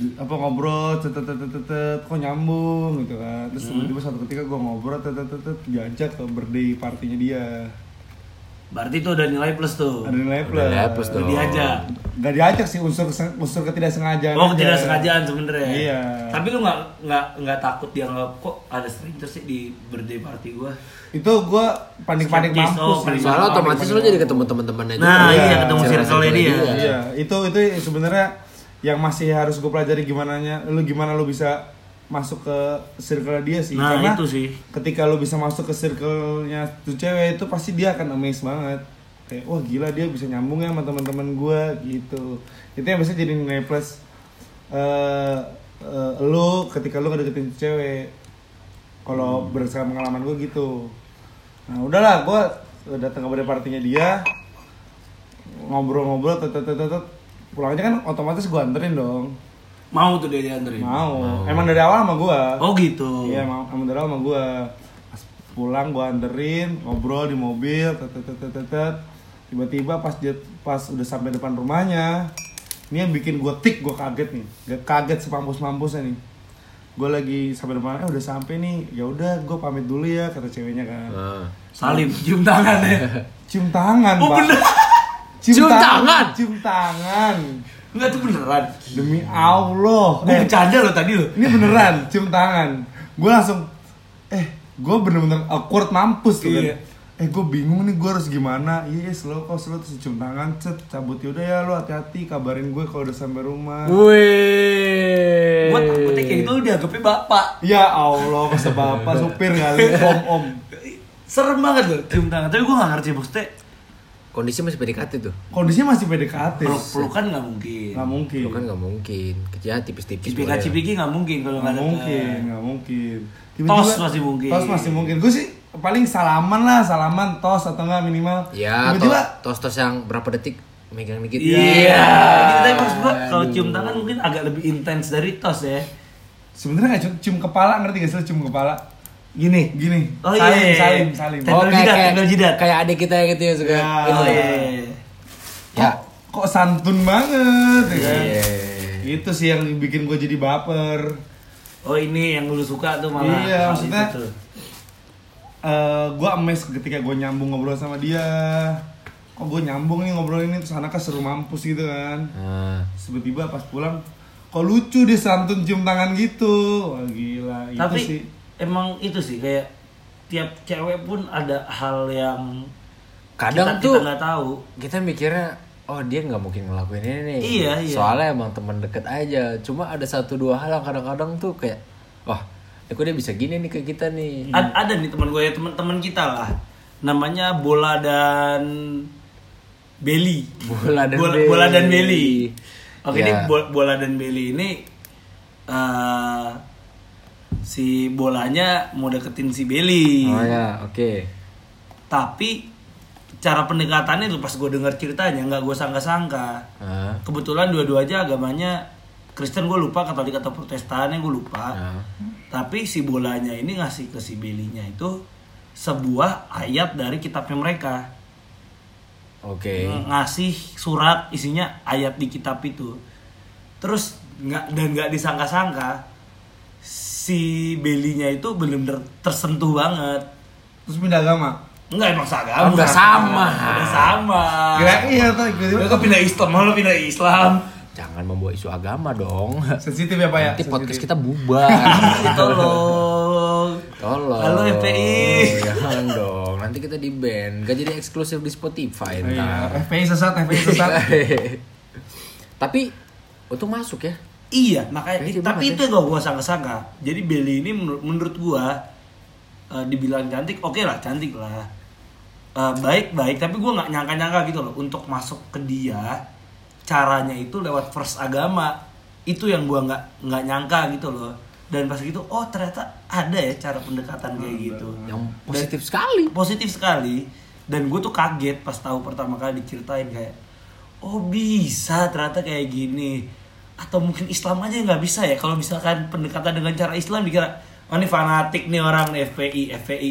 di- apa ngobrol, tetet tetet tetet, kok nyambung gitu kan. Hmm. Terus tiba-tiba satu ketika gue ngobrol, tetet tetet, diajak ke birthday partinya dia. berarti itu udah nilai plus tuh Ada nilai Oh, plus. Udah dihapus udah dong. diajak Gak diajak sih unsur kesen- unsur ketidaksengajaan. Oh aja. tidak sengajaan sebenarnya. Iya. Tapi lu nggak nggak nggak takut dianggap kok ada stranger sih di birthday party gua. Itu gue panik-panik Skeptis, oh, mampus. sih. panik- soalnya otomatis lo jadi ketemu teman-temannya juga Nah iya, iya ketemu circle circle dia. dia. Iya, itu itu sebenarnya yang masih harus gue pelajari gimana nya lu gimana lu bisa masuk ke circle dia sih. Nah Karena itu sih. ketika lu bisa masuk ke circle-nya tuh cewek itu pasti dia akan amazed banget. Kayak wah gila dia bisa nyambung ya sama teman-teman gue gitu. Itu yang biasanya jadi nilai plus eh eh, lu ketika lu ngedeketin cewek. Kalau Hmm. berdasarkan pengalaman gue gitu. Nah udahlah gue datang ke birthday partinya dia ngobrol-ngobrol tet, tet, tet, tet, tet. pulangnya kan otomatis gue anterin dong Mau tuh dia dianterin. mau emang dari awal sama gue Iya. Oh gitu. iya emang, emang dari awal sama gue Pas pulang gue anterin ngobrol di mobil tet, tet, tet, tet, tet, tet. tiba-tiba pas dia pas udah sampai depan rumahnya ini yang bikin gue tik gue kaget nih gak kaget sepampus mampusnya nih gue lagi sampai depan eh udah sampai nih ya udah gue pamit dulu ya kata ceweknya kan Nah. Salim cium tangan ya. cium tangan Oh Mbak. bener. Cium ta- tangan? cium tangan Enggak tuh beneran. Demi Allah. Gue Eh, bercanda lo tadi lo. ini beneran cium tangan. Gue langsung eh gue bener-bener awkward mampus tuh Iya. kan. Eh gue bingung nih gue harus gimana. Iya slow kok slow terus cium tangan cet cabut yaudah ya lo hati-hati kabarin gue kalau udah sampai rumah. Wih. Gue takutnya kayak gitu dianggapnya bapak. Ya Allah, masa bapak supir kali, om-om Serem banget lo cium tangan. Tapi gue nggak ngerti maksudnya Kondisi masih PDKT tuh. Kondisinya masih PDKT peluk pelukan nggak mungkin. Gak mungkin Lu kan nggak mungkin. Kerja tipis-tipis. ya. boleh Cipika lah. cipiki nggak mungkin kalau nggak Gak ada. mungkin, gak mungkin Tos masih mungkin. Tos masih mungkin Gue sih paling salaman lah, salaman tos atau enggak minimal Ya, Tiba-tiba tos tos yang berapa detik megang dikit. Ya. Iya. Tapi maksud gua kalau cium tangan mungkin agak lebih intens dari tos ya. Sebenarnya nggak cium, cium kepala ngerti gak sih lo cium kepala? Gini. Gini. Oh, salim, iya. salim, salim. Tendel Oh, kayak, jidat, kayak, tendel jidat. kayak adik kita gitu ya suka. Ya. Gitu. Oh iya. Ya. Kok santun banget, ya kan? Iya. Itu sih yang bikin gue jadi baper. Oh ini yang lu suka tuh malah. Iya, hal maksudnya- itu tuh. Eh, gue amazed ketika gue nyambung ngobrol sama dia. Kok gue nyambung nih ngobrol ini terus anaknya seru mampus gitu kan? Nah. Terus Tiba-tiba pas pulang, kok lucu dia santun cium tangan gitu. Wah, gila, Tapi itu sih. emang itu sih kayak tiap cewek pun ada hal yang Kadang kita, tuh kita nggak tahu. kita mikirnya oh dia nggak mungkin ngelakuin ini nih Iya, iya. soalnya emang teman deket aja cuma ada satu dua hal yang kadang-kadang tuh kayak wah ya kok dia bisa gini nih ke kita nih Ad- ada nih teman gue ya teman-teman kita lah. Namanya bola dan Beli. Bola dan bola, Beli. bola dan Beli. Oke, Ya. ini Bo- bola dan Beli ini eh, si bolanya mau deketin si Beli. oh ya oke Tapi cara pendekatannya tuh pas gue denger ceritanya nggak gue sangka-sangka. Ah, Kebetulan dua-duanya agamanya Kristen gue lupa Katolik atau Protestannya gue lupa. ah. Tapi si bolanya ini ngasih ke si Belinya itu sebuah ayat dari kitabnya mereka. oke Ng- ngasih surat isinya ayat di kitab itu terus nggak dan nggak disangka-sangka si belinya itu bener-bener tersentuh banget Terus pindah agama. nggak emang seagama Udah sama. udah sama Ah. Kira iya tuh, udah tiba-tiba kok pindah Islam lo pindah Islam jangan membawa isu agama dong sensitif ya pak ya. nanti podcast Sensitif. kita bubar tolong tolong Iya. halo FPI jangan dong nanti kita di band gak jadi eksklusif di Spotify Oh, Iya, ntar FPI sesat, FPI sesat. tapi untung masuk ya Iya, makanya tapi Kayaknya banget itu yang gak gua sangka-sangka. Jadi Belly ini menur- menurut gua eh, dibilang cantik, oke lah cantik lah. eh, baik-baik tapi gue nggak nyangka-nyangka gitu loh untuk masuk ke dia caranya itu lewat first agama itu yang gue nggak nggak nyangka gitu loh dan pas gitu oh ternyata ada ya cara pendekatan kayak gitu Hmm, yang positif sekali positif sekali dan gue tuh kaget pas tahu pertama kali diceritain kayak oh bisa ternyata kayak gini atau mungkin Islam aja yang nggak bisa ya kalau misalkan pendekatan dengan cara Islam dikira oh ini fanatik nih orang nih FPI FPI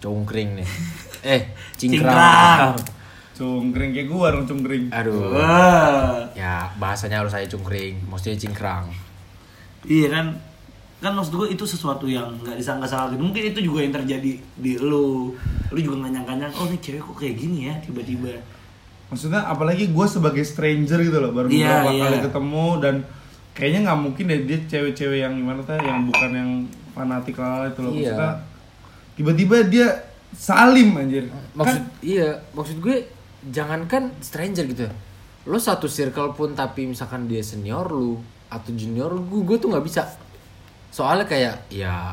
congkring nih eh Cingkrang. cingkrang Cungkring kayak gua orang cungkring. aduh wah ya bahasanya harus saya cungkring maksudnya cingkrang iya kan kan maksud gue itu sesuatu yang nggak disangka-sangka gitu mungkin itu juga yang terjadi di lu lu juga nggak nyangka oh ini cewek kok kayak gini ya tiba-tiba Maksudnya apalagi gua sebagai stranger gitu loh baru Iya, beberapa iya. kali ketemu dan kayaknya nggak mungkin deh dia cewek-cewek yang gimana tuh yang bukan yang fanatik lah itu loh Iya. maksudnya tiba-tiba dia salim anjir maksud iya maksud gue jangankan stranger gitu ya. lo satu circle pun tapi misalkan dia senior lu atau junior lu gue, gue tuh nggak bisa soalnya kayak ya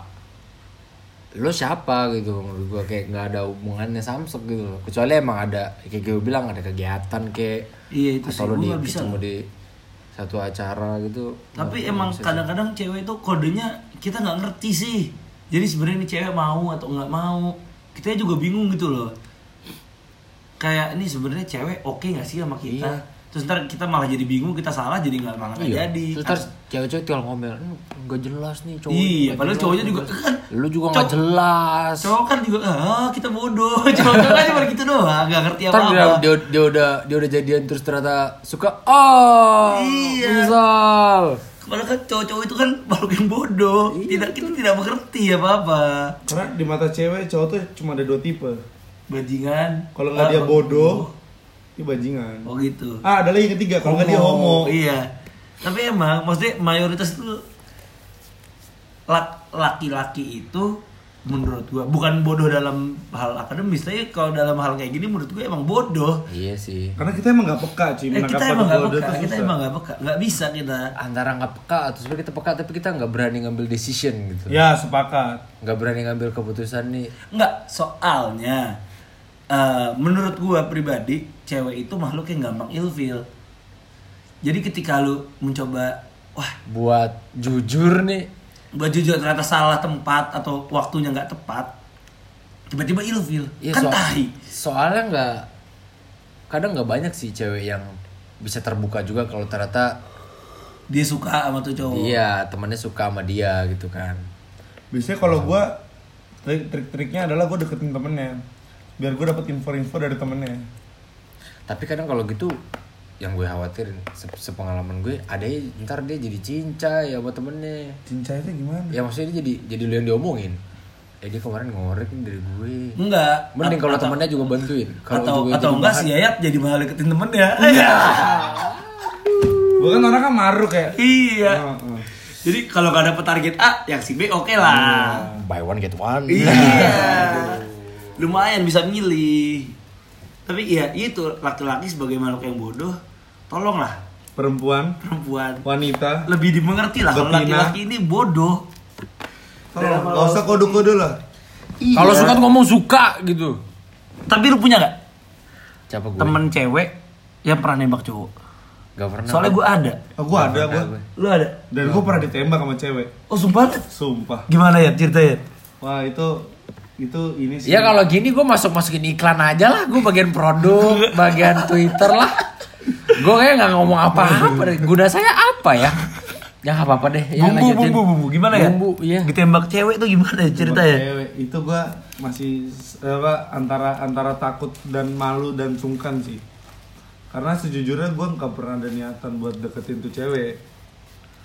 lo siapa gitu menurut gue kayak nggak ada hubungannya samsek gitu loh kecuali emang ada kayak gue bilang ada kegiatan kayak Iya, itu sih, atau gue lo di nggak bisa ketemu di satu acara gitu tapi Nggak- emang nggak bisa. kadang-kadang cewek itu kodenya kita nggak ngerti sih jadi sebenarnya ini cewek mau atau nggak mau kita juga bingung gitu loh kayak ini sebenarnya cewek oke nggak sih sama kita Iya. terus ntar kita malah jadi bingung kita salah jadi nggak malah nggak Iya. jadi Terus ntar cewek-cewek tinggal ngomel, "Hmm, nggak jelas nih cowok. Iya, nggak padahal jelas, cowoknya nggak juga- jelas." Lu juga nggak Cowok- jelas. cowok kan juga ah kita bodoh cowok kan cuma gitu doang nggak ngerti apa Ntar dia, apa dia, dia udah dia udah jadian terus ternyata suka oh Iya. menyesal. padahal kan cowok-cowok itu kan makhluk yang bodoh Iya, tidak kita tidak mengerti apa apa karena di mata cewek cowok tuh cuma ada dua tipe bajingan kalau nggak Ah, dia bodoh dia bajingan oh gitu ah ada lagi yang ketiga kalau nggak dia homo Iya. Tapi emang maksudnya mayoritas itu lak- laki-laki itu menurut gua bukan bodoh dalam hal akademis tapi kalau dalam hal kayak gini menurut gua emang bodoh. Iya sih. karena kita emang nggak peka cuy Eh, menangkap kita emang nggak kalau dia peka, tuh kita susah. emang nggak peka, nggak bisa kita. Antara nggak peka atau sebenarnya kita peka tapi kita nggak berani ngambil decision Iya. gitu. ya sepakat Nggak berani ngambil keputusan nih. Nggak soalnya eh, menurut gua pribadi cewek itu makhluk yang gampang ilfil. Jadi ketika lu mencoba wah Buat jujur nih. buat jujur ternyata salah tempat atau waktunya nggak tepat tiba-tiba ilfil Iya, kan soal- tahi Soalnya nggak kadang nggak banyak sih cewek yang bisa terbuka juga kalau ternyata dia suka sama tuh cowok Iya, temennya suka sama dia gitu kan. biasanya kalau gua trik- trik-triknya adalah gua deketin temennya biar gua dapet info-info dari temennya Tapi kadang kalau gitu yang gue khawatirin se- sepengalaman gue ada ya ntar dia jadi cinca ya buat temennya cinca itu gimana ya maksudnya dia jadi jadi lu yang diomongin eh dia kemarin ngorek nih dari gue enggak mending kalau temennya juga bantuin kalau atau juga atau jadi enggak bahan- si Yayat jadi malah deketin temennya iya gua kan orang kan maruk ya iya Oh. Heeh. jadi kalau nggak dapet target A yang si B oke lah buy one get one iya lumayan bisa milih tapi ya itu laki-laki sebagai makhluk yang bodoh tolonglah perempuan perempuan wanita lebih dimengerti lah kalau Betina. nah. laki-laki ini bodoh tolong nggak usah kode-kode lah kalau suka tuh ngomong suka gitu Tapi lu punya nggak siapa gue temen cewek yang pernah nembak cowok? gak pernah Soalnya gue ada. aku ada gua Lu ada? dan gua pernah ditembak sama cewek Oh sumpah? sumpah Gimana ya ceritanya? wah itu itu ini sih Ya kalau gini gue masuk masukin iklan aja lah, gue bagian produk, bagian Twitter lah. Gue kayak nggak ngomong apa-apa. deh. Guna saya apa ya? Ya nggak apa-apa deh. Ya, bumbu, lanjutin. bumbu, bumbu. Gimana ya? Bumbu, iya. Ditembak cewek tuh gimana ya ceritanya? cewek itu gua masih apa antara antara takut dan malu dan sungkan sih karena sejujurnya gua nggak pernah ada niatan buat deketin tuh cewek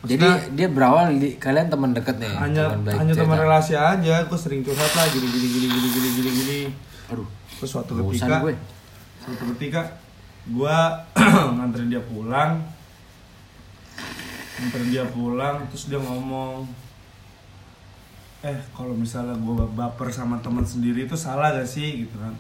Jadi dia berawal di kalian teman deket nih. hanya teman baik hanya cerita. teman relasi aja gue sering curhat lah gini gini gini gini gini gini gini Aduh, terus suatu bosan ketika gue. suatu ketika gue nganterin dia pulang nganterin dia pulang terus dia ngomong eh kalau misalnya gue baper sama teman sendiri itu salah gak sih gitu kan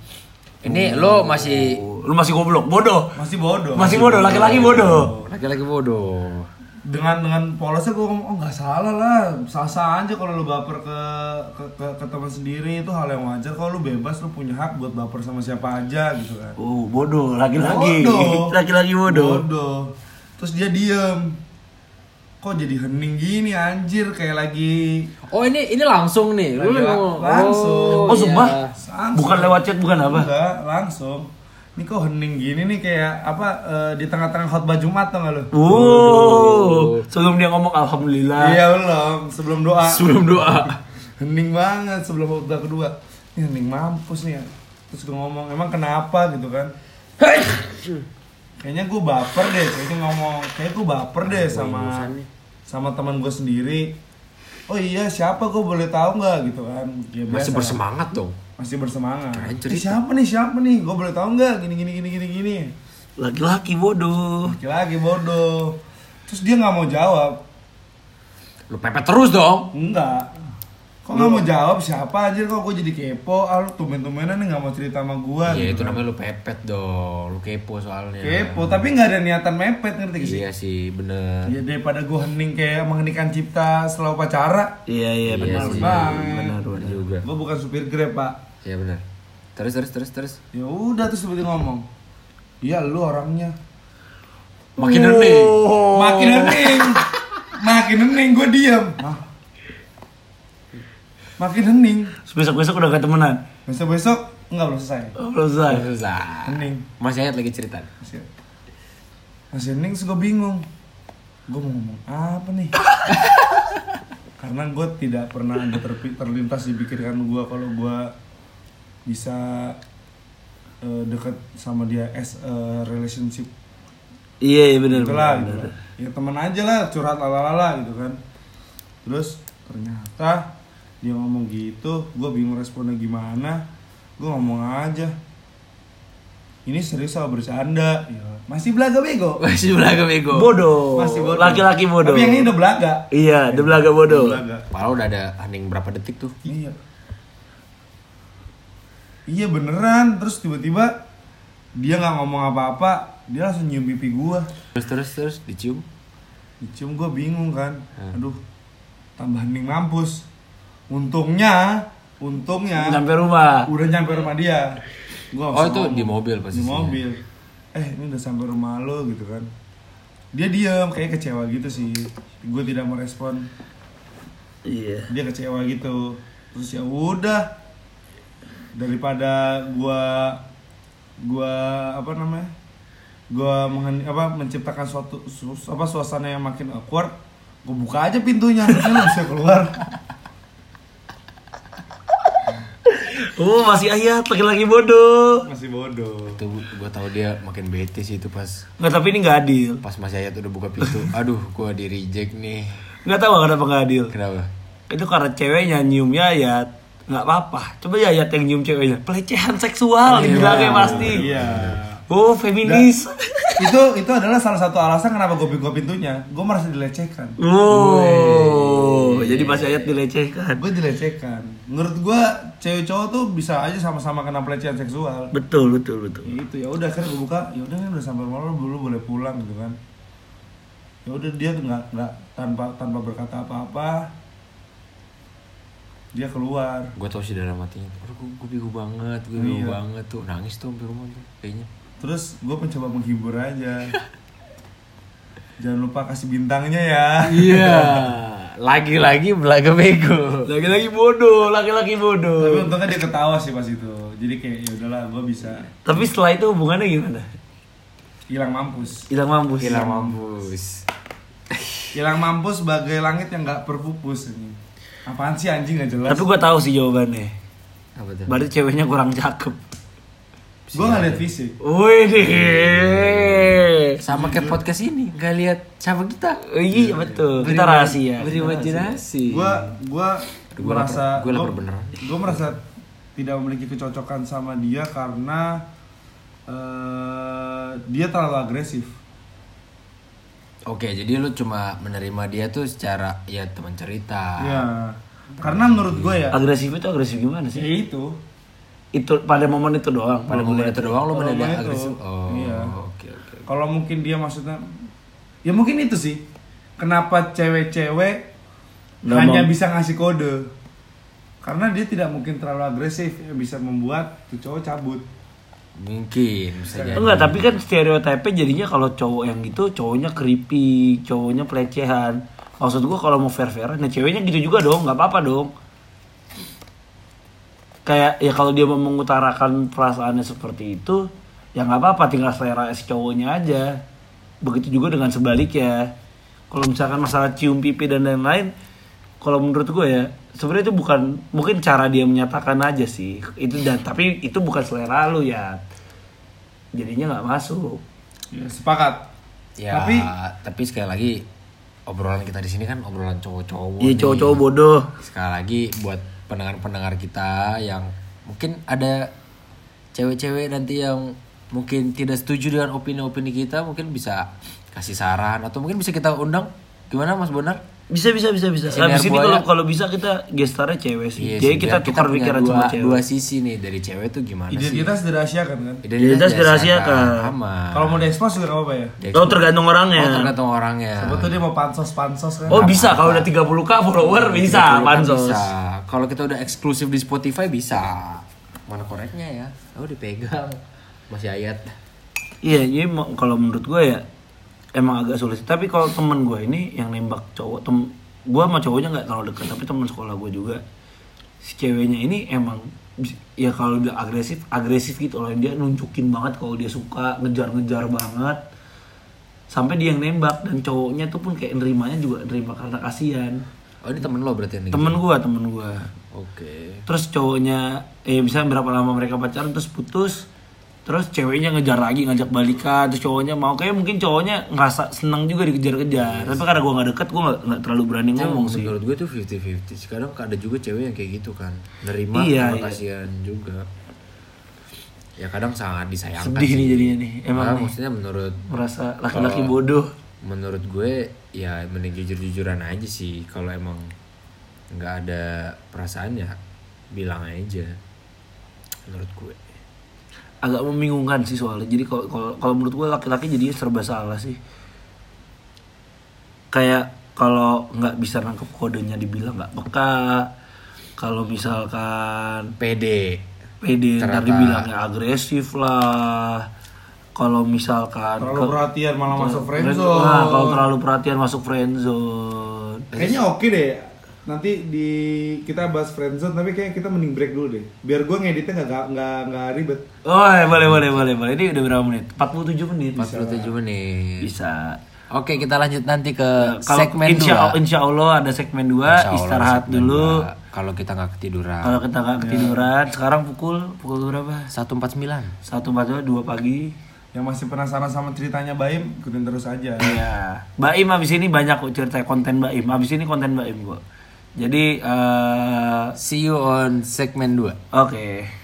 Ini lo masih Lu masih goblok, bodoh. masih bodoh Masih bodoh, laki-laki bodoh. laki-laki bodoh. dengan dengan polosnya gue ngomong oh nggak salah lah sah-sah aja kalau lu baper ke ke, ke, ke teman sendiri itu hal yang wajar kalau lu bebas lu punya hak buat baper sama siapa aja gitu kan Oh, bodoh laki-laki. Bodoh. Laki-laki bodoh. Bodoh. Terus dia diem. Kok jadi hening gini anjir kayak lagi Oh ini ini langsung nih. Lu Lagi la- ngomong. langsung. Iya, Oh, sumpah. iya. Langsung. Bukan lewat chat, bukan apa? Enggak, langsung. Ini kok hening gini nih kayak apa eh, di tengah-tengah khotbah Jumat tau gak lu? Wow, sebelum dia ngomong alhamdulillah, Iya belum, sebelum doa. sebelum doa. hening banget sebelum khotbah kedua. Ini hening mampus nih ya. Terus gue ngomong, emang kenapa gitu kan? kayaknya gue baper deh kayaknya ngomong kayak gue baper deh sama sama teman gue sendiri oh iya siapa gue boleh tahu nggak gitu kan Ya, Masih biasa. bersemangat dong. masih bersemangat Keren Eh, cerita. siapa nih siapa nih gue boleh tahu nggak gini gini gini gini gini Laki-laki bodoh. lagi bodoh terus dia nggak mau jawab Lu pepet terus dong. enggak kok nggak mau jawab siapa anjir kok gue jadi kepo ah lu tumben-tumbenan nih nggak mau cerita sama gue Iya itu gitu kan. namanya lu pepet dong. Lu kepo soalnya. kepo tapi nggak ada niatan mepet ngerti gak sih Iya sih bener. Ya daripada gue hening kayak mengeningkan cipta selalu pacara Iya iya benar sih. benar Benar. benar benar. juga. Gue bukan supir Grab, Pak. Iya bener. Terus terus terus terus. Ya udah terus seperti ngomong. Iya, lu orangnya. Makin hening. Makin hening. Makin hening gue diam. Hah? Makin hening. Besok besok udah gak temenan. Besok-besok enggak belum selesai. Oh, Belum selesai. Susah. Hening. Masih ingat lagi cerita. Masih, masih hening terus gue bingung. Gue mau ngomong apa nih? Karena gue tidak pernah ada terpi- terlintas di pikiran gue kalau gue bisa eh, dekat sama dia as a relationship Iya iya benar. gitu lah gitu. ya teman aja lah curhat lalala gitu kan terus ternyata dia ngomong gitu gue bingung responnya gimana gue ngomong aja ini serius sama bercanda Ya, masih belaga bego Masih belaga bego. Bodoh. masih Oh, bodoh Laki-laki bodoh. tapi yang ini udah belaga Iya, dia belaga bodoh. belaga Padahal udah ada hening berapa detik tuh. iya iya beneran terus tiba-tiba dia nggak ngomong apa-apa dia langsung nyium pipi gue Terus terus terus dicium. Dicium gue bingung kan, Hmm. aduh tambah hening mampus. Untungnya, untungnya Sampai Iya. rumah. udah nyampe rumah dia. Gua nggak Oh, usah itu ngomong. di mobil posisinya. Di mobil. Eh ini udah sampai rumah lo gitu kan. Dia diam kayak kecewa gitu sih. Gue tidak merespon. Iya. Dia kecewa gitu. Terus ya udah daripada gua gua apa namanya gua menghen- apa menciptakan suatu su- apa suasana yang makin awkward gua buka aja pintunya harusnya lu bisa keluar Oh, masih ayat laki-laki bodoh. masih bodoh Itu gua tahu dia makin bete sih itu pas Nggak, tapi ini nggak adil. pas Mas Yayat udah buka pintu. Aduh, gua di reject nih. Nggak tahu kenapa nggak adil. Kenapa? Itu karena ceweknya nyium Yayat. Nggak apa-apa. Coba Yayat yang nyium ceweknya. Pelecehan seksual dibilangnya pasti. iya Oh, feminis. itu itu adalah salah satu alasan kenapa gue buka pintunya gue merasa dilecehkan Wow, jadi Mas Yayat dilecehkan. gue dilecehkan menurut gue cewek cowok tuh bisa aja sama-sama kena pelecehan seksual Betul, betul, betul. ya itu ya udah akhirnya gue buka ya udah ini udah sampai rumah lo lu boleh pulang gitu kan ya udah dia tuh nggak nggak tanpa tanpa berkata apa-apa dia keluar Gua tahu sih dalam hatinya. Aduh, gua, gua bingung banget, gua bingung Iya. banget tuh. Nangis tuh hampir rumah tuh kayaknya. terus gue mencoba menghibur aja jangan lupa kasih bintangnya ya Iya. Lagi-lagi belaga bego. Laki-laki bodoh, laki-laki tapi bodoh. untungnya dia ketawa sih pas itu jadi kayak ya udahlah gue bisa Tapi setelah itu hubungannya gimana? hilang mampus Hilang mampus. Hilang mampus. hilang mampus sebagai langit yang nggak berpupus ini apaan sih anjing nggak jelas Tapi gua tahu sih jawabannya. Apa tuh? Berarti ceweknya kurang cakep. gue nggak lihat fisik Wih deh. Sama kayak podcast ini, gak lihat siapa kita. Iya betul. Kita rahasia. Berimajinasi. gua gua Aduh, gua merasa lapar- oh, gua lapar beneran. gua merasa tidak memiliki kecocokan sama dia karena eh, dia terlalu agresif Oke, jadi lu cuma menerima dia tuh secara ya teman cerita. Iya. ya karena menurut gue ya Agresif itu agresif gimana ya sih? itu Itu pada momen itu doang. Pada momen itu doang lu Kalau momen mendadak itu, agresif. Oh, iya. oke oke. kalau mungkin dia maksudnya ya mungkin itu sih kenapa cewek-cewek Nggak hanya mau. bisa ngasih kode karena dia tidak mungkin terlalu agresif yang bisa membuat tuh cowok cabut Mungkin bisa jadi. Enggak, tapi kan stereotipe jadinya kalau cowok yang gitu cowoknya creepy, cowoknya pelecehan. Maksud gua kalau mau fair-fairan, nah ceweknya gitu juga dong, nggak apa-apa dong. Kayak ya kalau dia mau mengutarakan perasaannya seperti itu, ya nggak apa-apa, tinggal selera si cowoknya aja. Begitu juga dengan sebaliknya. Kalau misalkan masalah cium pipi dan lain-lain, kalau menurut gue ya sebenarnya itu bukan mungkin cara dia menyatakan aja sih itu dan tapi itu bukan selera lu ya jadinya nggak masuk Ya, sepakat Ya, tapi, tapi tapi sekali lagi obrolan kita di sini kan obrolan cowok-cowok. iya nih. cowok-cowok bodoh Sekali lagi buat pendengar-pendengar kita yang mungkin ada cewek-cewek nanti yang mungkin tidak setuju dengan opini-opini kita, mungkin bisa kasih saran atau mungkin bisa kita undang. Gimana Mas Bonar? bisa bisa bisa bisa Sinar habis ini kalau buaya. kalau bisa kita gestarnya cewek sih Iya jadi sih, kita biar tukar punya pikiran dua, sama cewek dua sisi nih dari cewek tuh gimana Iya sih? Iya. identitas dirahasiakan kan Identitas dirahasiakan. Aman. kalau mau diekspos juga nggak apa-apa ya oh tergantung orangnya Oh, tergantung orangnya. Sebetulnya dia mau pansos-pansos kan oh bisa kalau udah 30k follower bisa Kalau kan pansos Bisa. Kalau kita udah eksklusif di Spotify bisa. Mana koreknya ya? Oh dipegang. Masih ayat. iya jadi mo- kalau menurut gue ya emang agak sulit tapi kalau temen gue ini yang nembak cowok tem gue sama cowoknya nggak terlalu dekat tapi teman sekolah gue juga si ceweknya ini emang bis- ya kalau dia agresif agresif gitu loh dia nunjukin banget kalau dia suka ngejar-ngejar banget sampai dia yang nembak dan cowoknya tuh pun kayak nerimanya juga nerima karena kasihan Oh ini temen lo berarti ini. temen gua temen gua Oke. terus cowoknya eh bisa berapa lama mereka pacaran terus putus terus ceweknya ngejar lagi ngajak balikan terus cowoknya mau kayak mungkin cowoknya ngerasa senang juga dikejar-kejar tapi karena gua nggak deket gua nggak- nggak terlalu berani ngomong sih Menurut gue tuh 50-50. Sekarang ada juga cewek yang kayak gitu kan. Nerima Iya, sama iya. kasihan juga. Ya kadang sangat disayangkan. sedih nih sih. jadinya nih emang Malah nih, maksudnya menurut merasa laki-laki bodoh menurut gue ya mending jujur-jujuran aja sih kalau emang nggak ada perasaan ya bilang aja menurut gue agak membingungkan sih soalnya jadi kalau kalau- kalau menurut gue laki-laki jadinya serba salah sih kayak kalau nggak bisa nangkep kodenya dibilang nggak peka kalau misalkan pede PD ntar Ternyata- dibilangnya agresif lah kalau misalkan terlalu ke- perhatian malah masuk friendzone Nah, kalau terlalu perhatian masuk friendzone kayaknya oke deh nanti di kita bahas friendzone tapi kayaknya kita mending break dulu deh biar gue ngeditnya nggak nggak nggak ribet oh ya, boleh boleh boleh boleh ini udah berapa menit 47 menit 47 menit bisa oke kita lanjut nanti ke kalau segmen insya, dua insya Allah ada segmen 2 Insya Ya Allah istirahat segmen dulu dua. kalau kita nggak ketiduran kalau kita nggak ketiduran sekarang pukul pukul berapa 149 satu empat dua pagi yang masih penasaran sama ceritanya Baim ikutin terus aja Iya. Mbak Im abis ini banyak kok cerita konten Mbak Im. Abis ini konten Mbak Im kok. Jadi eh see you on segmen 2 oke.